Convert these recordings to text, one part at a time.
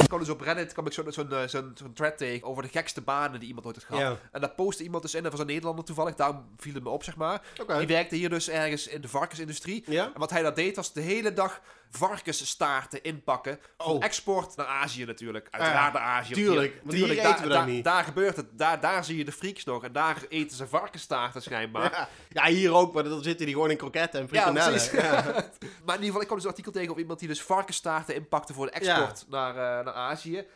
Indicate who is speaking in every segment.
Speaker 1: Ik kwam dus op Reddit kwam ik zo'n zo'n eh, zo'n- zo'n thread tegen over de gekste banen die iemand ooit had gehad.
Speaker 2: Ja.
Speaker 1: En daar postte iemand dus in, dat was een Nederlander toevallig, daarom viel het me op, zeg maar.
Speaker 2: Oké.
Speaker 1: Die werkte hier dus ergens in de varkensindustrie.
Speaker 2: Ja?
Speaker 1: En wat hij daar deed, was de hele dag varkensstaarten inpakken. Van
Speaker 2: Oh.
Speaker 1: export naar Azië natuurlijk. Uiteraard naar
Speaker 2: Ah,
Speaker 1: Azië. want
Speaker 2: tuurlijk, want hier
Speaker 1: tuurlijk,
Speaker 2: eten we dat niet.
Speaker 1: Daar gebeurt het. Daar, daar zie je de freaks nog. En daar eten ze varkensstaarten schijnbaar.
Speaker 2: Ja. ja, hier ook, maar dan zitten die gewoon in kroketten en frikandellen.
Speaker 1: precies. Maar in ieder geval, ik kwam dus een artikel tegen op iemand die dus varkensstaarten inpakte voor de export naar, eh, naar Azië. En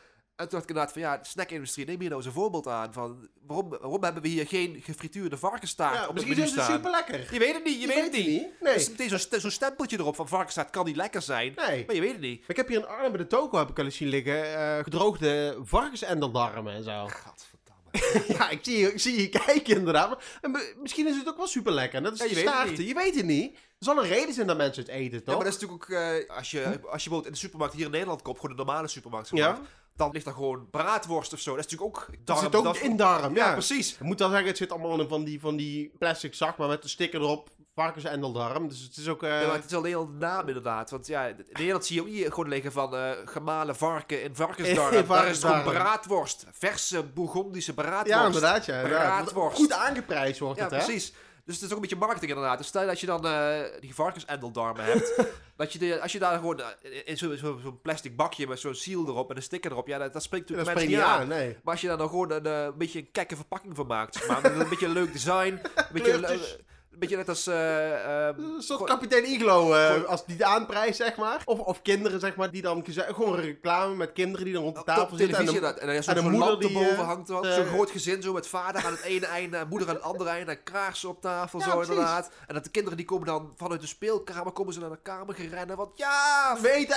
Speaker 1: toen dacht ik inderdaad van ja, de snackindustrie, neem hier nou eens een voorbeeld aan. Van waarom, waarom hebben we hier geen gefrituurde varkensstaart
Speaker 2: Ja,
Speaker 1: op het
Speaker 2: misschien
Speaker 1: menu
Speaker 2: zijn ze
Speaker 1: staan?
Speaker 2: super lekker.
Speaker 1: Je weet het niet, je, weet, het niet. Dus-
Speaker 2: Nee.
Speaker 1: Er is meteen zo'n st- zo'n stempeltje erop van varkensstaart kan niet lekker zijn.
Speaker 2: Nee.
Speaker 1: Maar je weet het niet.
Speaker 2: Ik heb hier in Arnhem bij de toko heb ik al eens zien liggen eh, gedroogde varkensendeldarmen en zo.
Speaker 1: Gadverdamme.
Speaker 2: ja, ik zie, ik zie je kijken inderdaad. Maar- En mi- misschien is het ook wel super lekker. En dat is
Speaker 1: Ja, je
Speaker 2: de
Speaker 1: weet het
Speaker 2: staarten.
Speaker 1: niet.
Speaker 2: Je weet het niet. Er zal een reden zijn dat mensen het
Speaker 1: Ja,
Speaker 2: eten, toch? Hm?
Speaker 1: maar dat is natuurlijk ook, eh, als, je, als je bijvoorbeeld in de supermarkt hier in Nederland koopt, gewoon een normale supermarkt, zeg
Speaker 2: Ja.
Speaker 1: maar, dan ligt er gewoon braadworst of zo. Dat is natuurlijk ook
Speaker 2: Er
Speaker 1: darm.
Speaker 2: zit ook
Speaker 1: dat-
Speaker 2: in darm, ja.
Speaker 1: ja, precies.
Speaker 2: Ik moet wel zeggen, het zit allemaal in van die, van die plastic zak, maar met een sticker erop. Varkensendeldarm. Dus het is ook... eh,
Speaker 1: Ja, maar het is alleen al de naam inderdaad. Want ja, in Nederland zie je ook hier gewoon liggen van eh, gemalen varken in varkensdarm.
Speaker 2: In
Speaker 1: Daar is gewoon
Speaker 2: varkensdarm.
Speaker 1: braadworst. Verse Bourgondische braadworst.
Speaker 2: ja, inderdaad. Ja, ja.
Speaker 1: Braadworst.
Speaker 2: Goed aangeprijsd wordt
Speaker 1: Ja,
Speaker 2: het, hè?
Speaker 1: precies. Dus het is ook een beetje marketing inderdaad. Dus stel dat je dan eh die varkensendeldarmen hebt. dat je de, als je daar gewoon eh, in zo'n zo, zo'n plastic bakje met zo'n seal erop en een sticker erop. Ja, dat, dat spreekt
Speaker 2: Ja, Dat
Speaker 1: natuurlijk
Speaker 2: spreekt
Speaker 1: mensen
Speaker 2: niet
Speaker 1: niet aan.
Speaker 2: aan, nee.
Speaker 1: Maar als je daar dan gewoon een, eh, een beetje een kekke verpakking van maakt. zeg Maar met een beetje een leuk design. Een beetje, een
Speaker 2: Kleurtjes.
Speaker 1: een beetje net als... eh, ehm,
Speaker 2: Een soort
Speaker 1: gewoon-
Speaker 2: kapitein Iglo, eh,
Speaker 1: Gewoon-
Speaker 2: als die de aanprijs, zeg maar. Of, of kinderen, zeg maar, die dan... geze- Gewoon een reclame met kinderen die dan rond de
Speaker 1: Op
Speaker 2: tafel zitten.
Speaker 1: televisie
Speaker 2: en dan-
Speaker 1: dat. En dan is zo'n
Speaker 2: en de
Speaker 1: zo'n
Speaker 2: moeder
Speaker 1: lamp
Speaker 2: die,
Speaker 1: erboven
Speaker 2: eh,
Speaker 1: hangt er ook.
Speaker 2: eh,
Speaker 1: Zo'n groot gezin zo met vader aan het ene einde en moeder aan het andere einde. En kraagse op tafel
Speaker 2: Ja,
Speaker 1: zo
Speaker 2: precies.
Speaker 1: inderdaad. En dat de kinderen die komen dan vanuit de speelkamer komen ze naar de kamer gerennen. Want ja!
Speaker 2: We eten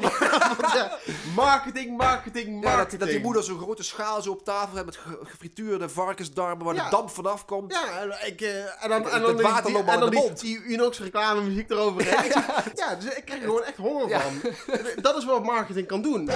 Speaker 2: Want, ja, marketing, marketing, marketing.
Speaker 1: ja, dat, dat die moeder zo'n grote schaal zo op tafel heeft met ge- gefrituurde varkensdarmen waar
Speaker 2: Ja.
Speaker 1: de damp vanaf komt.
Speaker 2: Ja, en ik, eh, en dan, en
Speaker 1: Het
Speaker 2: dan die-
Speaker 1: water
Speaker 2: die,
Speaker 1: loopt al
Speaker 2: en
Speaker 1: in
Speaker 2: dan
Speaker 1: de
Speaker 2: die,
Speaker 1: mond.
Speaker 2: die Unox reclamemuziek eroverheen. Ja, dus ik krijg er gewoon echt honger
Speaker 1: Ja.
Speaker 2: van. Dat is wat marketing kan doen.